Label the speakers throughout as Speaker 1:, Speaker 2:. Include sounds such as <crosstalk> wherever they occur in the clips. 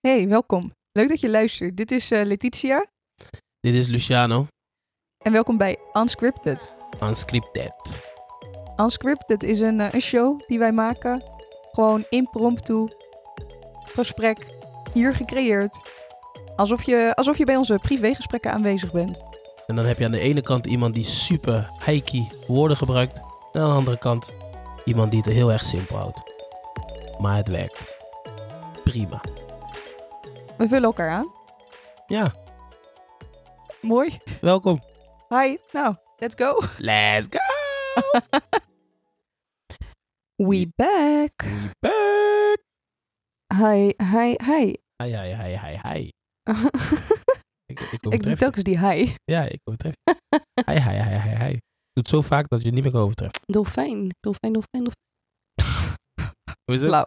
Speaker 1: Hey, welkom. Leuk dat je luistert. Dit is eh, Letitia
Speaker 2: Dit is Luciano,
Speaker 1: en welkom bij Unscripted.
Speaker 2: unscripted.
Speaker 1: Unscripted is een, eh, een show die wij maken. Gewoon impromptu. Gesprek. Hier gecreëerd. Alsof je, alsof je bij onze privégesprekken aanwezig bent.
Speaker 2: En dan heb je aan de ene kant iemand die super high-key woorden gebruikt. En aan de andere kant iemand die het heel erg simpel houdt. Maar het werkt. Prima.
Speaker 1: We vullen elkaar aan.
Speaker 2: Ja,
Speaker 1: Mooi.
Speaker 2: welkom.
Speaker 1: Hi. Nou, let's go.
Speaker 2: Let's go!
Speaker 1: We back.
Speaker 2: We back!
Speaker 1: Hi, hi, hi.
Speaker 2: Hi, hi, hi, hi, hi. Ik, ik
Speaker 1: <laughs> Ik doe
Speaker 2: overtref je.
Speaker 1: telkens die hi.
Speaker 2: Ja, ik overtref je.
Speaker 1: <laughs>
Speaker 2: Hi, hi, hi, hi, hi. Ik doe het zo vaak dat je het niet meer kan overtreffen.
Speaker 3: Dolfijn, dolfijn, dolfijn, dolfijn.
Speaker 2: Hoe is het?
Speaker 1: Blauw.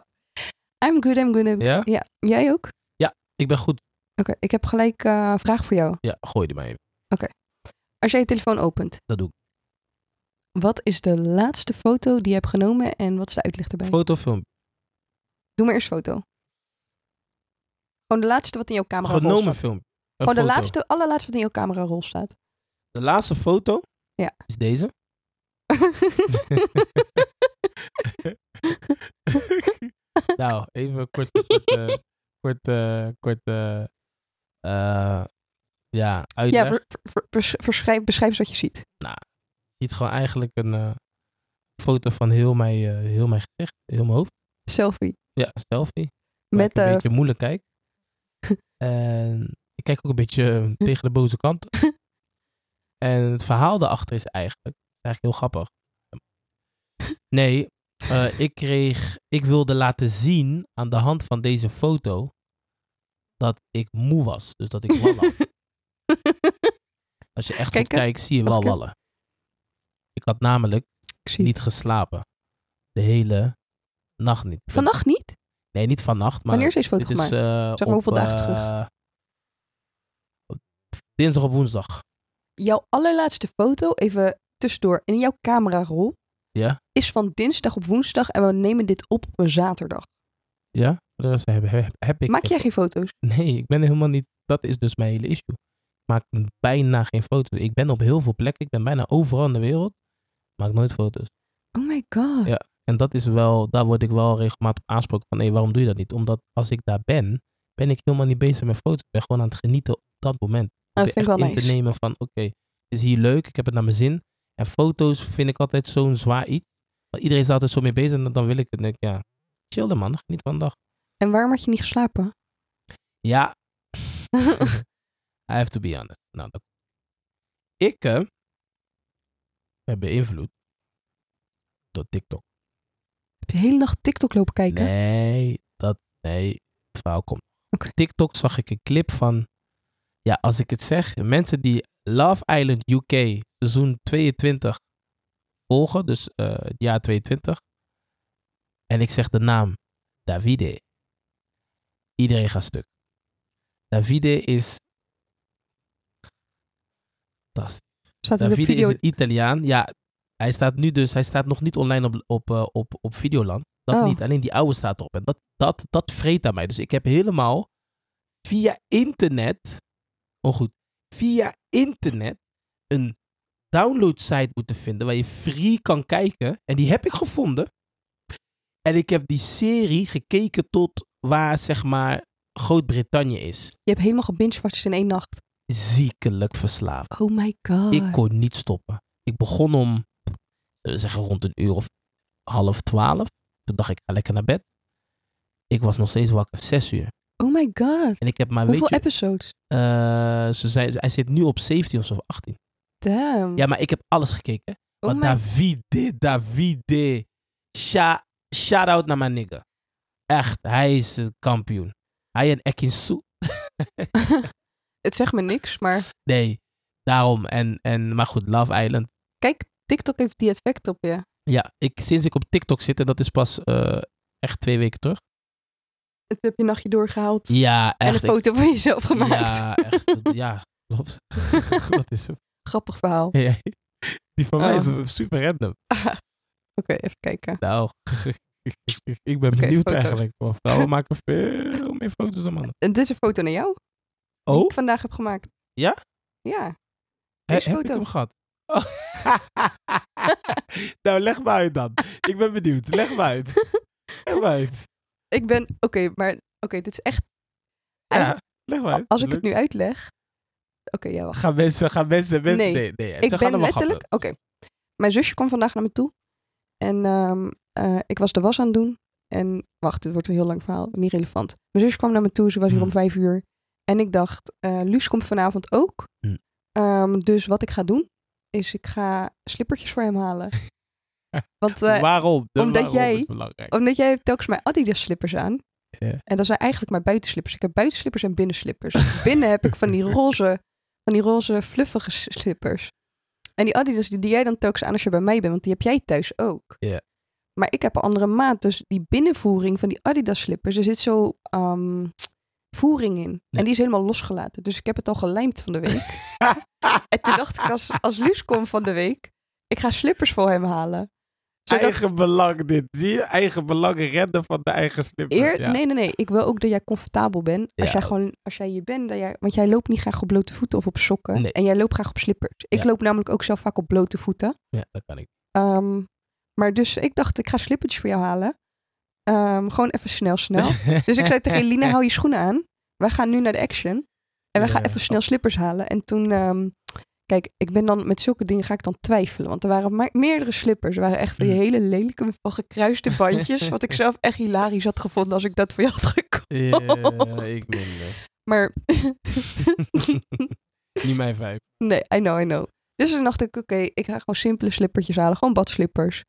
Speaker 3: I'm good, I'm good. I'm-
Speaker 2: Ja?
Speaker 3: Ja, jij ook? Oké,
Speaker 2: Ik ben goed.
Speaker 3: ik heb gelijk eh, een vraag voor jou.
Speaker 2: Ja, gooi die maar even.
Speaker 3: Als jij je telefoon opent,
Speaker 2: Dat doe ik.
Speaker 3: wat is de laatste foto die je hebt genomen en wat is de uitleg erbij?
Speaker 2: Foto, film.
Speaker 3: Doe maar eerst foto. Gewoon de laatste wat in jouw camera rol
Speaker 2: Genomen
Speaker 3: staat.
Speaker 2: film. Een
Speaker 3: Gewoon de
Speaker 2: foto.
Speaker 3: laatste, allerlaatste wat in jouw camera rol staat.
Speaker 2: De laatste foto
Speaker 3: Ja.
Speaker 2: is deze. <laughs> <laughs> nou, even kort, kort, eh, kort, eh, kort eh, eh, ja,
Speaker 3: <laughs>
Speaker 2: uitleg.
Speaker 3: ja, ver, ver- vers- verschrijf- beschrijf eens wat je ziet.
Speaker 2: Je ziet gewoon eigenlijk een eh, foto van heel mijn, eh, heel mijn gezicht, heel mijn hoofd.
Speaker 3: Selfie.
Speaker 2: Ja, een selfie. waar
Speaker 3: Met,
Speaker 2: ik een
Speaker 3: eh,
Speaker 2: beetje moeilijk
Speaker 3: <laughs>
Speaker 2: kijk. en ik kijk ook een beetje
Speaker 3: <laughs>
Speaker 2: eh, tegen de boze kant. en het verhaal daarachter is eigenlijk, is eigenlijk heel
Speaker 3: <laughs>
Speaker 2: grappig. Nee, eh, ik kreeg, ik wilde laten zien aan de hand van deze foto dat ik moe was. Dus dat ik wallen. Als je
Speaker 3: <laughs>
Speaker 2: echt
Speaker 3: Kijk, eh,
Speaker 2: goed kijkt, zie je wel
Speaker 3: Mag ik, hè?
Speaker 2: wallen. Ik had namelijk
Speaker 3: <laughs> ik zie het.
Speaker 2: niet geslapen. De hele nacht niet.
Speaker 3: Vannacht niet?
Speaker 2: Nee, niet vannacht, maar
Speaker 3: Wanneer is deze foto
Speaker 2: dit is
Speaker 3: gemaakt?
Speaker 2: eh,
Speaker 3: Zeg maar
Speaker 2: op,
Speaker 3: hoeveel dagen terug?
Speaker 2: eh, op dinsdag op woensdag. eh,
Speaker 3: Jouw allerlaatste foto, even tussendoor, in jouw camera rol,
Speaker 2: Ja?
Speaker 3: is van dinsdag op woensdag en we nemen dit op op een zaterdag.
Speaker 2: Ja? Dat is- heb, heb, heb ik,
Speaker 3: Maak jij geen foto's?
Speaker 2: Nee, ik ben helemaal niet... Dat is dus mijn hele issue. Ik maak bijna geen foto's. Ik ben op heel veel plekken. Ik ben bijna overal in de wereld. Ik Maak nooit foto's.
Speaker 3: Oh my god.
Speaker 2: Ja. En dat is wel... Daar word ik wel regelmatig op aansproken van... Hé, waarom doe je dat niet? Omdat als ik daar ben, ben ik helemaal niet bezig met foto's. Ik ben gewoon aan het genieten op dat moment.
Speaker 3: Ah, dat
Speaker 2: weer
Speaker 3: vind ik wel
Speaker 2: echt in
Speaker 3: nice.
Speaker 2: te nemen van, oké, het is hier leuk, ik heb het naar mijn zin. En foto's vind ik altijd zo'n zwaar iets. Want iedereen is er altijd zo mee bezig en dan wil ik het. En denk ik, ja, chill dan, man, geniet van de dag.
Speaker 3: En waarom had je niet geslapen? <laughs>
Speaker 2: <laughs> Ja, I have to be honest. Nou, dat... Ik eh, ben beïnvloed door TikTok.
Speaker 3: Heb je de hele nacht TikTok lopen kijken?
Speaker 2: Nee, dat, nee, het verhaal komt.
Speaker 3: Oké.
Speaker 2: TikTok zag ik een clip van, ja, als ik het zeg, mensen die Love Island UK seizoen 22 volgen, dus eh, het jaar 22, en ik zeg de naam Davide, iedereen gaat stuk. Davide is, fantastisch.
Speaker 3: Staat het op
Speaker 2: Davide
Speaker 3: video?
Speaker 2: Nou, is een Italiaan. Ja, hij staat nu dus, hij staat nog niet online op, op, eh, op, op Videoland. Dat
Speaker 3: Oh.
Speaker 2: niet, alleen die oude staat erop. En dat, dat, dat vreet aan mij. Dus ik heb helemaal via internet, oh goed, via internet een downloadsite moeten vinden waar je free kan kijken. En die heb ik gevonden. En ik heb die serie gekeken tot waar, zeg maar, Groot-Brittannië is.
Speaker 3: Je hebt helemaal gebinge in één nacht.
Speaker 2: Ziekelijk verslaafd.
Speaker 3: Oh my god.
Speaker 2: Ik kon niet stoppen. Ik begon om, eh, zeggen rond een uur of half twaalf. Toen dacht ik, ga lekker naar bed. Ik was nog steeds wakker, zes uur.
Speaker 3: Oh my god.
Speaker 2: En ik heb maar,
Speaker 3: Hoeveel
Speaker 2: weet je,
Speaker 3: episodes?
Speaker 2: eh, ze zijn, hij zit nu op 17 of zo, of 18.
Speaker 3: Damn.
Speaker 2: Ja, nou- maar ik heb alles gekeken.
Speaker 3: oh
Speaker 2: Want
Speaker 3: my...
Speaker 2: Davide, Davide. Sha- Shout-out naar mijn nigga. Echt, hij is een kampioen. Hij en Ekinsu.
Speaker 3: <laughs> Het zegt me niks, maar
Speaker 2: Nee, daarom. En, en, maar goed, Love Island.
Speaker 3: kijk, TikTok heeft die effect op je.
Speaker 2: Ja, ik, sinds ik op TikTok zit, en dat is pas eh, echt twee weken terug.
Speaker 3: Het heb je nachtje doorgehaald
Speaker 2: Ja,
Speaker 3: en
Speaker 2: echt.
Speaker 3: een foto van jezelf
Speaker 2: ik-
Speaker 3: gemaakt.
Speaker 2: Ja,
Speaker 3: <laughs>
Speaker 2: echt. ja, klopt. <laughs> Wat <laughs> is het?
Speaker 3: Grappig verhaal. Oké,
Speaker 2: Die van
Speaker 3: mij
Speaker 2: is super random.
Speaker 3: even kijken.
Speaker 2: Nou, <laughs> ik ben
Speaker 3: Oké,
Speaker 2: benieuwd
Speaker 3: foto's.
Speaker 2: eigenlijk. Want vrouwen maken veel meer foto's dan mannen.
Speaker 3: En dit is een foto naar jou die
Speaker 2: Oh,
Speaker 3: ik vandaag heb gemaakt.
Speaker 2: Ja?
Speaker 3: Ja. <laughs>
Speaker 2: he-
Speaker 3: Deze
Speaker 2: heb ik
Speaker 3: foto.
Speaker 2: hem gehad? Oh. <laughs> nou, leg maar uit dan. Ik ben benieuwd. Leg maar uit. Leg maar uit.
Speaker 3: Ik ben, oké, maar oké, dit is echt,
Speaker 2: Ja, leg maar uit.
Speaker 3: als ik het
Speaker 2: Leuk.
Speaker 3: nu uitleg. Oké, ja, wacht.
Speaker 2: Gaan mensen, gaan mensen, mensen.
Speaker 3: Nee,
Speaker 2: Nee, nee. nee.
Speaker 3: ik
Speaker 2: Ze gaan
Speaker 3: ben
Speaker 2: er wel
Speaker 3: letterlijk. Oké. Mijn zusje kwam vandaag naar me toe. En ehm, eh, ik was de was aan het doen. En wacht, het wordt een heel lang verhaal. Niet relevant. Mijn zusje kwam naar me toe. Ze was hier om
Speaker 2: Hmm.
Speaker 3: vijf uur. En ik dacht, eh, Luus komt vanavond ook.
Speaker 2: Hmm.
Speaker 3: Ehm, dus wat ik ga doen, is ik ga slippertjes voor hem
Speaker 2: <laughs>
Speaker 3: halen. Want eh,
Speaker 2: grappig. Waarom? De
Speaker 3: omdat
Speaker 2: waarom
Speaker 3: jij-
Speaker 2: is belangrijk.
Speaker 3: omdat jij hebt telkens mijn Adidas slippers aan.
Speaker 2: Ja.
Speaker 3: En dat zijn eigenlijk mijn buitenslippers. Ik heb buitenslippers en binnenslippers. <laughs> Binnen heb ik van die roze, van die roze fluffige s- slippers. En die Adidas die, die jij dan telkens aan als je bij mij bent, want die heb jij thuis ook.
Speaker 2: Ja.
Speaker 3: Maar ik heb een andere maat, dus die binnenvoering van die Adidas slippers, er zit zo ehm, voering in. En die is helemaal losgelaten. Dus ik heb het al gelijmd van de week.
Speaker 2: <laughs>
Speaker 3: en toen dacht ik, als, als Luus komt van de week, ik ga slippers voor hem halen. Zodat
Speaker 2: Eigen belang dit. Zie je? Eigen belang redden van de eigen slipper.
Speaker 3: Eer,
Speaker 2: Ja.
Speaker 3: Nee, nee, nee. Ik wil ook dat jij comfortabel bent. Als
Speaker 2: Ja.
Speaker 3: jij gewoon, als jij je bent, dat jij, want jij loopt niet graag op blote voeten of op sokken.
Speaker 2: Nee.
Speaker 3: En jij loopt graag op slippers. Ik
Speaker 2: Ja.
Speaker 3: loop namelijk ook zelf vaak op blote voeten.
Speaker 2: Ja, dat kan ik.
Speaker 3: Ehm, maar dus ik dacht, ik ga slippertjes voor jou halen. Ehm, gewoon even snel,
Speaker 2: <laughs>
Speaker 3: snel. dus ik zei tegen Lina, hou je schoenen aan. Wij gaan nu naar de action. En we gaan
Speaker 2: Ja.
Speaker 3: even snel slippers halen. En toen, ehm, kijk, ik ben dan met zulke dingen ga ik dan twijfelen. Want er waren maar- meerdere slippers. Er waren echt van die
Speaker 2: Mm.
Speaker 3: hele lelijke van gekruiste
Speaker 2: <laughs>
Speaker 3: bandjes. wat ik zelf echt hilarisch had gevonden als ik dat voor jou had gekocht.
Speaker 2: Ja, ik minder.
Speaker 3: Maar <laughs>
Speaker 2: Niet mijn vijf.
Speaker 3: nee, I know, I know. Dus toen dacht ik, oké, ik ga gewoon simpele slippertjes halen. Gewoon badslippers.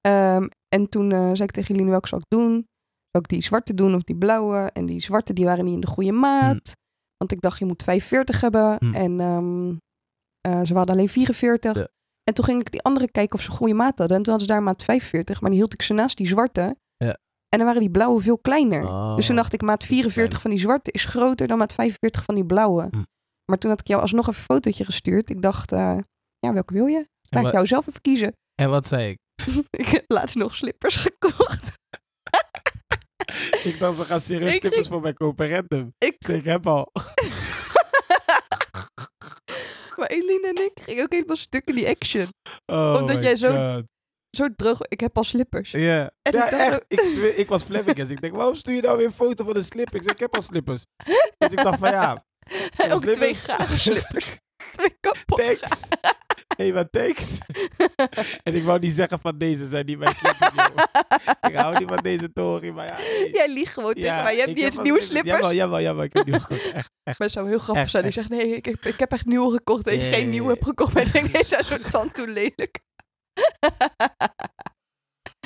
Speaker 3: Ehm, en toen eh, zei ik tegen Eline, welke zal ik doen? Zal ik die zwarte doen of die blauwe? En die zwarte, die waren niet in de goede
Speaker 2: Hm.
Speaker 3: maat. Want ik dacht, je moet 42 hebben.
Speaker 2: Hmm.
Speaker 3: En ehm, eh, ze hadden alleen 44.
Speaker 2: Ja.
Speaker 3: En toen ging ik die andere kijken of ze een goede maat hadden. En toen hadden ze daar maat 45. Maar die hield ik ze naast die zwarte.
Speaker 2: Ja.
Speaker 3: En dan waren die blauwe veel kleiner.
Speaker 2: Oh.
Speaker 3: Dus toen dacht ik, maat 44 van die zwarte is groter dan maat 45 van die blauwe.
Speaker 2: Hm.
Speaker 3: Maar toen had ik jou alsnog een fotootje gestuurd. Ik dacht, eh, ja, welke wil je?
Speaker 2: en,
Speaker 3: Laat ik
Speaker 2: wat,
Speaker 3: jou zelf even kiezen. <laughs>
Speaker 2: en wat zei ik?
Speaker 3: ik heb laatst nog slippers <laughs> gekocht.
Speaker 2: Ik dacht, ze gaan serieus
Speaker 3: Ik-
Speaker 2: slippers
Speaker 3: ik-
Speaker 2: voor mij kopen. Random.
Speaker 3: Ik-
Speaker 2: Ik zeg, ik heb al.
Speaker 3: maar Eline en ik gingen ook helemaal stuk in die action.
Speaker 2: Oh
Speaker 3: Omdat
Speaker 2: my
Speaker 3: jij zo-
Speaker 2: God.
Speaker 3: Zo droog, ik heb al slippers. <laughs>
Speaker 2: Ja,
Speaker 3: En
Speaker 2: ja
Speaker 3: ik dacht
Speaker 2: echt.
Speaker 3: ook-
Speaker 2: Ik, zweer, ik was flabbergast. Ik denk, waarom stuur je nou weer een foto van een slip? Ik zeg, ik heb al slippers. Dus ik dacht van
Speaker 3: <laughs>
Speaker 2: ja,
Speaker 3: En ook
Speaker 2: slippers.
Speaker 3: twee
Speaker 2: <laughs>
Speaker 3: gare slippers. twee kapot. <laughs>
Speaker 2: thanks. Hé, maar thanks. En ik wou niet zeggen van deze zijn niet mijn slippers, joh. Ik hou niet van deze tory, maar ja. hey.
Speaker 3: Jij liegt gewoon tegen
Speaker 2: Ja,
Speaker 3: mij. Je hebt
Speaker 2: ik
Speaker 3: niet eens
Speaker 2: heb
Speaker 3: nieuwe
Speaker 2: wel
Speaker 3: slippers.
Speaker 2: Jawel, jawel, jawel. Ik heb nieuwe <laughs> gekocht. Echt.
Speaker 3: Maar het zou heel grappig
Speaker 2: Echt,
Speaker 3: zijn. Die zegt, nee, ik, ik, ik heb echt nieuwe gekocht. Dat je
Speaker 2: Nee,
Speaker 3: geen
Speaker 2: nee,
Speaker 3: nieuwe
Speaker 2: nee.
Speaker 3: hebt gekocht. Maar ik
Speaker 2: <laughs>
Speaker 3: denk, deze zijn zo tandtoe lelijk.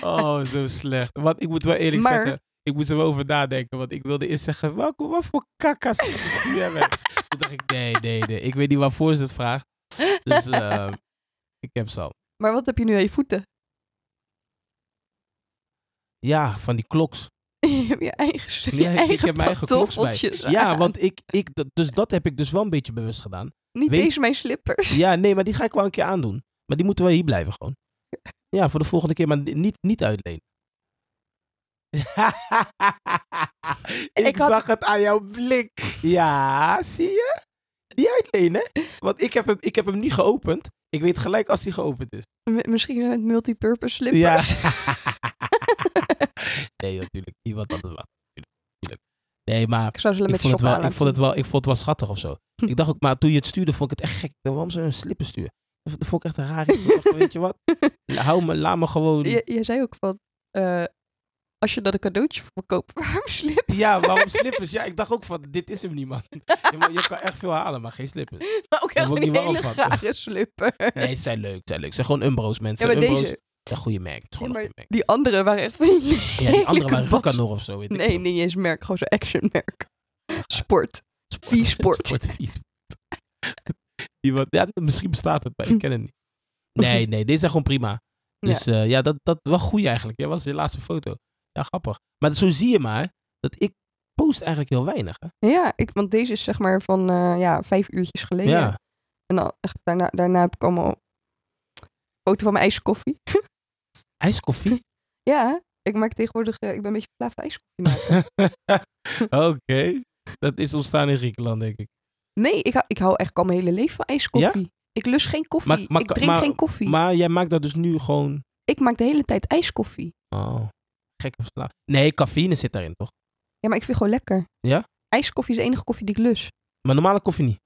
Speaker 2: Oh, zo slecht. Want ik moet wel eerlijk
Speaker 3: Maar-
Speaker 2: zeggen, ik moest er wel over nadenken. Want ik wilde eerst zeggen, welke, wat voor kakka's stuur jij mij? <laughs> Toen dacht ik, nee, nee, nee. Ik weet niet waarvoor ze het vraagt. <laughs> Dus ehm, ik heb ze al.
Speaker 3: Maar wat heb je nu aan je voeten? <laughs>
Speaker 2: Ja, van die kloks.
Speaker 3: Je hebt je eigen, je
Speaker 2: Ja, ik-
Speaker 3: eigen
Speaker 2: ik heb mijn eigen kloks bij.
Speaker 3: pantoffeltjes <laughs>
Speaker 2: Ja,
Speaker 3: aan.
Speaker 2: want ik, ik, dat- dus dat heb ik dus wel een beetje bewust gedaan.
Speaker 3: Niet
Speaker 2: weet-
Speaker 3: eens mijn slippers.
Speaker 2: <laughs> Ja, nee, maar die ga ik wel een keer aandoen. Maar die moeten wel hier blijven gewoon. Ja, voor de volgende keer, maar niet, niet uitlenen. <laughs> ik
Speaker 3: Ik had-
Speaker 2: zag het aan jouw blik. Ja, zie je? Niet uitlenen. Want ik heb hem, ik heb hem niet geopend. Ik weet gelijk als hij geopend is.
Speaker 3: M- misschien zijn het multipurpose slippers.
Speaker 2: nee, natuurlijk. Iemand anders wat. Tuurlijk, tuurlijk. Nee, maar
Speaker 3: <laughs> Ik zou ze
Speaker 2: ik
Speaker 3: met
Speaker 2: vond, het
Speaker 3: sokken
Speaker 2: wel,
Speaker 3: aan
Speaker 2: ik, vond het wel, ik vond het wel schattig of zo.
Speaker 3: Hm.
Speaker 2: Ik dacht ook, maar toen je het stuurde, vond ik het echt gek. Ik dacht, Waarom zou je een slipper sturen? Dat vond ik echt
Speaker 3: <laughs>
Speaker 2: een raar. idee. Ik dacht, Weet je wat? Hou me, laat me gewoon.
Speaker 3: Je, jij zei ook van, eh, als je dan een cadeautje voor me koopt, <laughs> waarom slip?
Speaker 2: Ja, waarom slippers? Ja, ik dacht ook van, dit is hem niet, man. Je, mo- je kan echt veel halen, maar geen slippers.
Speaker 3: Maar ook
Speaker 2: Daar
Speaker 3: echt
Speaker 2: word ik
Speaker 3: een
Speaker 2: niet warm
Speaker 3: hele
Speaker 2: van.
Speaker 3: gare
Speaker 2: <laughs>
Speaker 3: slipper.
Speaker 2: Nee, ze zijn leuk, ze zijn leuk. Ze zijn gewoon Umbro's,
Speaker 3: Ja,
Speaker 2: mensen.
Speaker 3: maar
Speaker 2: Umbro's
Speaker 3: deze,
Speaker 2: zijn een goede merk. Het is gewoon
Speaker 3: Ja,
Speaker 2: een
Speaker 3: maar
Speaker 2: goede
Speaker 3: die andere waren echt van
Speaker 2: merk. Ja, die andere
Speaker 3: lelijke
Speaker 2: waren
Speaker 3: bats-
Speaker 2: Rocanor of zo. Weet
Speaker 3: <laughs>
Speaker 2: ik
Speaker 3: Nee,
Speaker 2: veel.
Speaker 3: niet eens merk, gewoon zo'n
Speaker 2: <laughs>
Speaker 3: actionmerk. Sport. Vies sport.
Speaker 2: Sport, vies sport. Die wat, ja, misschien bestaat het, maar ik ken het niet. Nee, nee, deze zijn gewoon prima. Dus ja, ja dat, dat wel goed eigenlijk. Ja, was je laatste foto. Ja, grappig. Maar zo zie je maar dat ik post eigenlijk heel weinig. Hè?
Speaker 3: Ja, ik, want deze is zeg maar van eh, ja, vijf uurtjes geleden.
Speaker 2: Ja.
Speaker 3: En dan, echt, daarna, daarna heb ik allemaal foto van mijn ijskoffie.
Speaker 2: Ijskoffie?
Speaker 3: Ja, Ik maak tegenwoordig, eh, ik ben een beetje verslaafd aan ijskoffie
Speaker 2: <laughs>
Speaker 3: maken.
Speaker 2: <laughs> Oké. Dat is ontstaan in Griekenland, denk ik.
Speaker 3: Nee, ik hou, ik hou echt al mijn hele leven van ijskoffie. Ik lust geen koffie.
Speaker 2: Maar- maar-
Speaker 3: ik drink
Speaker 2: maar-
Speaker 3: geen koffie.
Speaker 2: Maar jij maakt dat dus nu gewoon...
Speaker 3: ik maak de hele tijd ijskoffie.
Speaker 2: Oh, gekke verslaafd. Nee, cafeïne zit daarin, toch?
Speaker 3: Ja, maar ik vind het gewoon lekker.
Speaker 2: Ja?
Speaker 3: Ijskoffie is de enige koffie die ik lust.
Speaker 2: Maar normale koffie niet.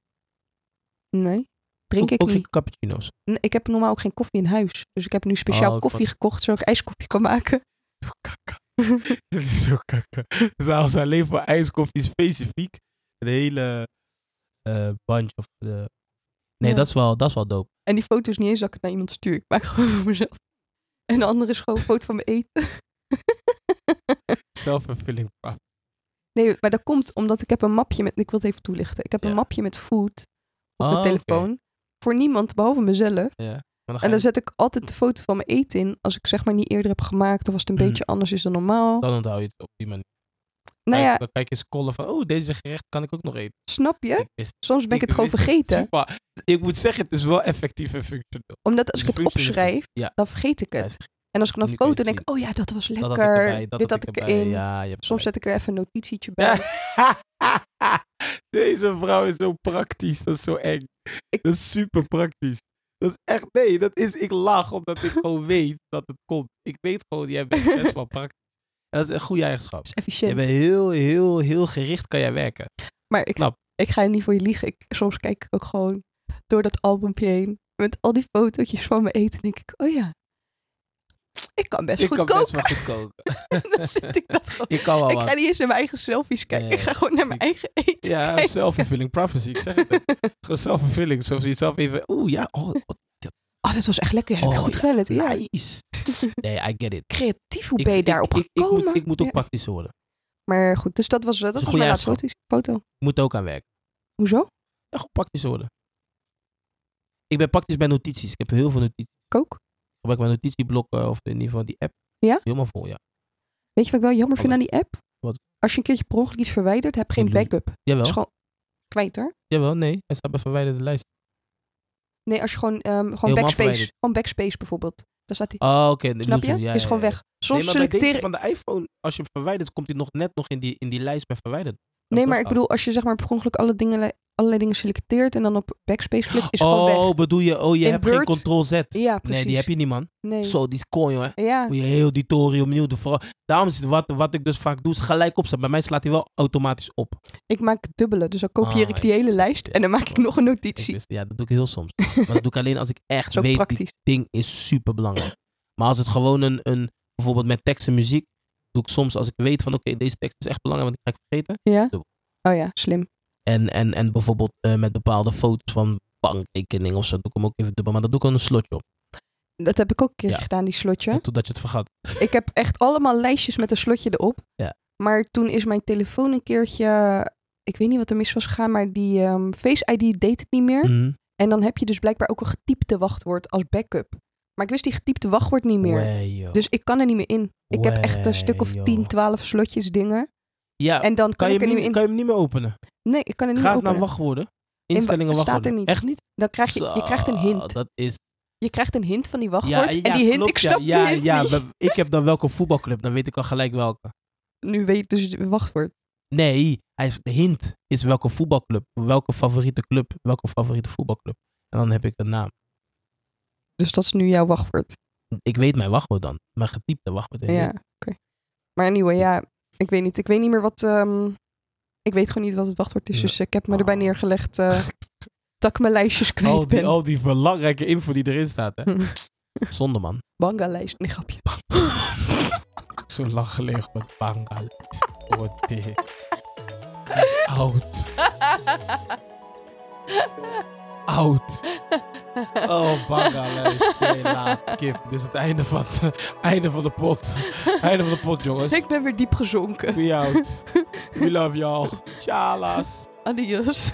Speaker 3: Nee. Drink
Speaker 2: ook,
Speaker 3: ik
Speaker 2: ook
Speaker 3: niet.
Speaker 2: geen cappuccino's.
Speaker 3: Nee, Ik heb normaal ook geen koffie in huis. Dus ik heb nu speciaal
Speaker 2: Oh, ik
Speaker 3: koffie gekocht, zodat ik ijskoffie kan
Speaker 2: <laughs>
Speaker 3: maken. <laughs>
Speaker 2: Dit is zo kakker. Zelfs alleen voor ijskoffie specifiek. De hele eh bunch of de... Nee,
Speaker 3: Ja.
Speaker 2: dat, is wel, dat is wel dope.
Speaker 3: En die foto is niet eens dat ik het naar iemand stuur. Ik maak gewoon <laughs> voor mezelf. En de andere is gewoon een foto van mijn eten. <laughs>
Speaker 2: Self-fulfilling prophecy.
Speaker 3: Nee, maar dat komt omdat ik heb een mapje met... Ik wil het even toelichten. Ik heb
Speaker 2: Ja.
Speaker 3: een mapje met food op
Speaker 2: Oh,
Speaker 3: mijn
Speaker 2: oké.
Speaker 3: telefoon. Voor niemand, behalve mezelf.
Speaker 2: Ja. Maar dan ga
Speaker 3: En dus
Speaker 2: je-
Speaker 3: dan zet ik altijd de foto van mijn eten in. Als ik zeg maar niet eerder heb gemaakt. Of als het een
Speaker 2: Mhm.
Speaker 3: beetje anders is dan normaal.
Speaker 2: dan onthoud je het op die manier.
Speaker 3: nou
Speaker 2: Kijk,
Speaker 3: ja,
Speaker 2: Dan kijk je scrollen van, oh, deze gerecht kan ik ook nog eten.
Speaker 3: snap je?
Speaker 2: Ik wist-
Speaker 3: Soms ben ik het gewoon
Speaker 2: wist
Speaker 3: vergeten.
Speaker 2: Super. Ik moet zeggen, het is wel effectief en functioneel.
Speaker 3: Omdat als ik
Speaker 2: De
Speaker 3: het
Speaker 2: functie is goed.
Speaker 3: opschrijf,
Speaker 2: Ja.
Speaker 3: dan vergeet ik het. En als ik dan
Speaker 2: Nu
Speaker 3: een
Speaker 2: kun je
Speaker 3: foto
Speaker 2: het
Speaker 3: denk, oh ja, dat was lekker.
Speaker 2: Dat had ik erbij, dat
Speaker 3: Dit
Speaker 2: had ik erbij.
Speaker 3: in.
Speaker 2: Ja, je hebt
Speaker 3: Soms zet
Speaker 2: gelijk.
Speaker 3: ik er even een notitietje bij.
Speaker 2: Ja. <laughs> Deze vrouw is zo praktisch, dat is zo eng. Dat is super praktisch. Dat is echt, nee, dat is, ik lach omdat ik
Speaker 3: <laughs>
Speaker 2: gewoon weet dat het komt. Ik weet gewoon, jij bent best wel praktisch. En dat is een goede eigenschap.
Speaker 3: Dat is
Speaker 2: Je
Speaker 3: efficiënt.
Speaker 2: bent heel, heel, heel gericht kan jij werken.
Speaker 3: Maar ik,
Speaker 2: knap.
Speaker 3: ik ga je niet voor je liegen. Ik, soms kijk ik ook gewoon door dat albumpje heen. Met al die fotootjes van mijn eten. denk ik, oh ja. Ik kan best
Speaker 2: ik
Speaker 3: goed
Speaker 2: kan
Speaker 3: koken.
Speaker 2: best wel goed koken.
Speaker 3: <laughs> dan zit ik dat gewoon.
Speaker 2: Ik
Speaker 3: <laughs>
Speaker 2: kan wel
Speaker 3: Ik
Speaker 2: wat.
Speaker 3: ga niet eens naar mijn eigen selfies kijken.
Speaker 2: Nee,
Speaker 3: ik ga gewoon naar mijn eigen eten. <laughs>
Speaker 2: Ja,
Speaker 3: kijken.
Speaker 2: self-fulfilling prophecy. Ik zeg het. Het is gewoon self-fulfilling. Zoals je zelf even... Oeh, ja. Oh, oh,
Speaker 3: <laughs> Oh, dat was echt lekker. Ja,
Speaker 2: Oh,
Speaker 3: goed gelet. Ja.
Speaker 2: nice. Nee, I get it.
Speaker 3: <laughs> Creatief, hoe
Speaker 2: Ik-
Speaker 3: ben je
Speaker 2: ik-
Speaker 3: daarop
Speaker 2: ik, ik,
Speaker 3: gekomen?
Speaker 2: moet, ik moet ook
Speaker 3: Ja.
Speaker 2: praktisch worden.
Speaker 3: Maar goed, dus dat was, dat
Speaker 2: een
Speaker 3: was
Speaker 2: goede
Speaker 3: mijn laatste foto. foto.
Speaker 2: Ik moet er ook aan werken.
Speaker 3: Hoezo?
Speaker 2: Ja, gewoon praktisch worden. Ik ben praktisch bij notities. Ik heb heel veel notities.
Speaker 3: Kook?
Speaker 2: Ik gebruik mijn notitieblokken of in ieder geval die app.
Speaker 3: Ja?
Speaker 2: Helemaal vol, ja.
Speaker 3: Weet je wat ik wel jammer vind
Speaker 2: Alle-
Speaker 3: aan die app?
Speaker 2: Oh, Wat?
Speaker 3: Als je een keertje per ongeluk iets verwijdert, heb geen
Speaker 2: Dan doe je-
Speaker 3: backup. Dat
Speaker 2: Jawel,
Speaker 3: is gewoon kwijt hoor.
Speaker 2: jawel, nee. Hij staat bij verwijderde lijst.
Speaker 3: Nee, als je gewoon, ehm, gewoon
Speaker 2: Helemaal
Speaker 3: backspace.
Speaker 2: verwijderd.
Speaker 3: Gewoon backspace bijvoorbeeld. Dan staat die.
Speaker 2: Oh, oké. dat
Speaker 3: snap
Speaker 2: doet
Speaker 3: je?
Speaker 2: zo, ja,
Speaker 3: is
Speaker 2: ja,
Speaker 3: gewoon
Speaker 2: ja.
Speaker 3: weg. Soms
Speaker 2: nee, maar bij
Speaker 3: selecteer
Speaker 2: deze van de iPhone, als je hem verwijdert, komt hij nog net nog in die, in die lijst bij verwijderd. Dat
Speaker 3: Nee,
Speaker 2: is
Speaker 3: maar
Speaker 2: ook
Speaker 3: ik bedoel, als je zeg maar per ongeluk alle dingen, allerlei dingen selecteert en dan op backspace klikt, is het
Speaker 2: Oh,
Speaker 3: gewoon weg.
Speaker 2: bedoel je, oh, je
Speaker 3: In
Speaker 2: hebt
Speaker 3: Word-
Speaker 2: geen Ctrl Z.
Speaker 3: Ja, precies.
Speaker 2: Nee, die heb je niet, man.
Speaker 3: Nee. Ah.
Speaker 2: Zo, die is kooi, hoor.
Speaker 3: Ja,
Speaker 2: Moet je heel die toren opnieuw doen. Vooral, daarom is het wat, wat ik dus vaak doe, is gelijk opzetten. Bij mij slaat hij wel automatisch op.
Speaker 3: ik maak dubbele, dus dan kopieer
Speaker 2: Ah,
Speaker 3: ik die hele lijst en dan maak ik nog een
Speaker 2: Ik
Speaker 3: notitie.
Speaker 2: wist- ja, dat doe ik heel
Speaker 3: <laughs>
Speaker 2: soms. Maar dat doe ik alleen als ik echt
Speaker 3: Zo
Speaker 2: weet,
Speaker 3: praktisch.
Speaker 2: dit ding is super belangrijk. Maar als het gewoon een, een, bijvoorbeeld met tekst en muziek, doe ik soms als ik weet van, oké, deze tekst is echt belangrijk, want die ga ik vergeten.
Speaker 3: Ja?
Speaker 2: Dubbel.
Speaker 3: Oh ja, slim.
Speaker 2: En, en, en bijvoorbeeld eh, met bepaalde foto's van bankrekening of zo, doe ik hem ook even dubbel. Maar dat doe ik wel een slotje op,
Speaker 3: Dat heb ik ook een keer
Speaker 2: Ja.
Speaker 3: gedaan, die slotje.
Speaker 2: <laughs> totdat je het vergat.
Speaker 3: Ik heb echt allemaal lijstjes met een slotje erop.
Speaker 2: Ja.
Speaker 3: Maar toen is mijn telefoon een keertje, ik weet niet wat er mis was gegaan, maar die ehm, Face ID deed het niet meer.
Speaker 2: Mhm.
Speaker 3: En dan heb je dus blijkbaar ook een getypte wachtwoord als backup. Maar ik wist die getypte wachtwoord niet meer.
Speaker 2: Wee, joh.
Speaker 3: Dus ik kan er niet meer in. Ik heb echt een stuk of
Speaker 2: Wee, joh.
Speaker 3: 10, 12 slotjes dingen.
Speaker 2: ja,
Speaker 3: En dan kan,
Speaker 2: kan, je
Speaker 3: ik er
Speaker 2: hem
Speaker 3: niet meer
Speaker 2: niet,
Speaker 3: in.
Speaker 2: kan je hem niet meer openen?
Speaker 3: Nee, ik kan er niet
Speaker 2: Ga
Speaker 3: meer
Speaker 2: eens
Speaker 3: openen.
Speaker 2: naar wachtwoorden.
Speaker 3: wa-
Speaker 2: Instellingen
Speaker 3: staat er
Speaker 2: wachtwoorden.
Speaker 3: niet.
Speaker 2: Echt niet?
Speaker 3: Dan krijg je, je krijgt een
Speaker 2: Zo,
Speaker 3: hint.
Speaker 2: Dat is
Speaker 3: Je krijgt een hint van die wachtwoord.
Speaker 2: Ja,
Speaker 3: en
Speaker 2: ja,
Speaker 3: die hint,
Speaker 2: klopt,
Speaker 3: ik snap
Speaker 2: ja, ja,
Speaker 3: die hint <laughs>
Speaker 2: ja,
Speaker 3: niet.
Speaker 2: we- Ik heb dan welke voetbalclub, dan weet ik al gelijk welke.
Speaker 3: Nu weet je dus het wachtwoord.
Speaker 2: Nee, hij is, de hint is welke voetbalclub, welke favoriete club, welke favoriete voetbalclub. En dan heb ik een naam.
Speaker 3: Dus dat is nu jouw wachtwoord.
Speaker 2: Ik weet mijn wachtwoord dan, mijn getypte wachtwoord.
Speaker 3: Ja, oké. Maar anyway, ja, ik weet niet. Ik weet niet meer wat... ehm, ik weet gewoon niet wat het wachtwoord is.
Speaker 2: Ja.
Speaker 3: Dus ik heb me erbij
Speaker 2: Oh.
Speaker 3: neergelegd
Speaker 2: <laughs>
Speaker 3: eh, dat <laughs> ik mijn lijstjes kwijt
Speaker 2: Al die,
Speaker 3: ben.
Speaker 2: al die belangrijke info die erin staat, hè. <laughs>
Speaker 3: <laughs>
Speaker 2: Zonde, man.
Speaker 3: Banga-lijst. Nee, grapje.
Speaker 2: <laughs> Zo lang gelegen met Bangal. Oh, dit. Oud. Oud. Oh, bangalijst. Nee, laat. Kip. Dit is het einde van, einde van de pot. Einde van de pot, jongens.
Speaker 3: Ik ben weer diep gezonken. <laughs>
Speaker 2: We out. We love y'all. Tjalas.
Speaker 3: Adios.